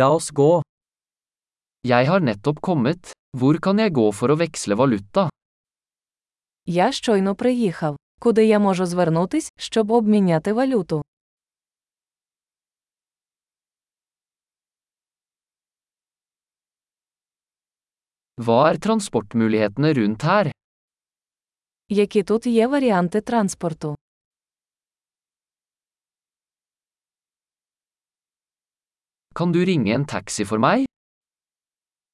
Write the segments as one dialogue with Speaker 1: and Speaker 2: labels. Speaker 1: La oss gå. Jeg har nettopp kommet. Hvor kan jeg gå for å veksle valuta?
Speaker 2: Я щойно приїхав. Куди я можу звернутись, щоб обміняти валюту?
Speaker 1: Hva er transportmulighetene rundt her?
Speaker 2: Які тут є варіанти транспорту?
Speaker 1: Kan du ringe en taxi for meg?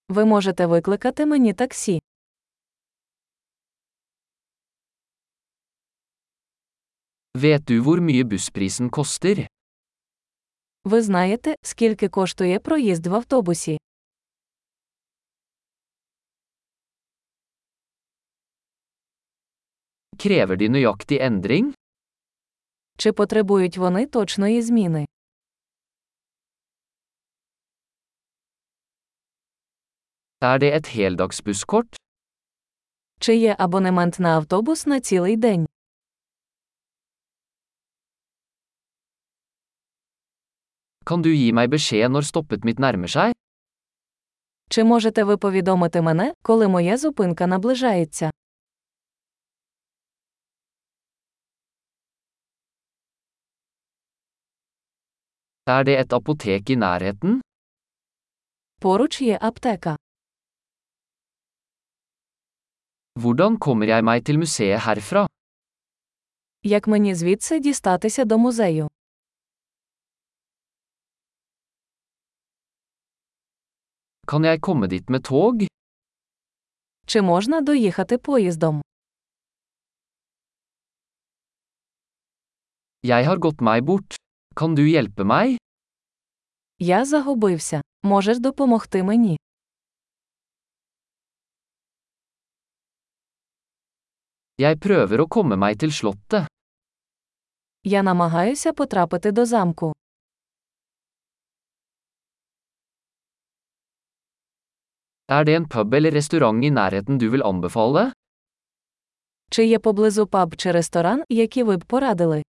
Speaker 2: Ви можете викликати мені таксі.
Speaker 1: Vet du hvor mye bussprisen koster?
Speaker 2: Ви знаєте, скільки коштує проїзд в автобусі?
Speaker 1: Krever de nøyaktig endring?
Speaker 2: Чи потребують вони точної зміни?
Speaker 1: Er det et heldagsbusskort?
Speaker 2: Чи є абонемент на автобус на цілий день?
Speaker 1: Kan du gi meg beskjed når stoppet mitt nærmer seg?
Speaker 2: Чи можете ви повідомити мене, коли моя зупинка наближається?
Speaker 1: Er det et apotek i nærheten?
Speaker 2: Поруч є аптека.
Speaker 1: Hvordan kommer jeg meg til museet herfra?
Speaker 2: Як мені звідси дістатися до музею?
Speaker 1: Kan jeg komme dit med tog?
Speaker 2: Чи можна доїхати поїздом?
Speaker 1: Jeg har gått meg bort. Kan du hjelpe meg?
Speaker 2: Я загубився. Можеш допомогти мені?
Speaker 1: Jeg prøver å komme meg til slottet.
Speaker 2: Я намагаюся потрапити до замку.
Speaker 1: Er det en pub eller restaurant i nærheten du vil anbefale?
Speaker 2: Чи є поблизу паб чи ресторан, які ви б порадили?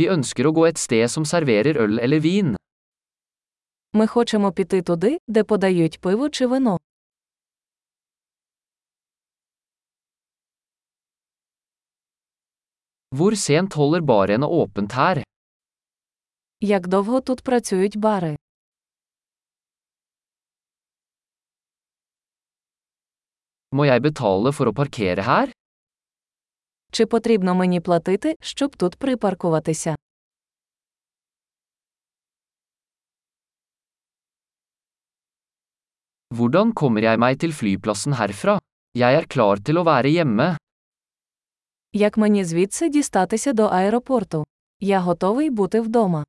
Speaker 1: Vi ønsker å gå et sted som serverer øl eller vin.
Speaker 2: Ми хочемо піти туди, де подають пиво чи вино.
Speaker 1: Hvor sent holder barene åpent her?
Speaker 2: Як довго тут працюють бари?
Speaker 1: Må jeg betale for å parkere her?
Speaker 2: Чи потрібно мені платити, щоб тут припаркуватися?
Speaker 1: Hvordan kommer jeg meg til flyplassen herfra? Jeg er klar til å være hjemme.
Speaker 2: Як мені звідси дістатися до аеропорту? Я готовий бути вдома.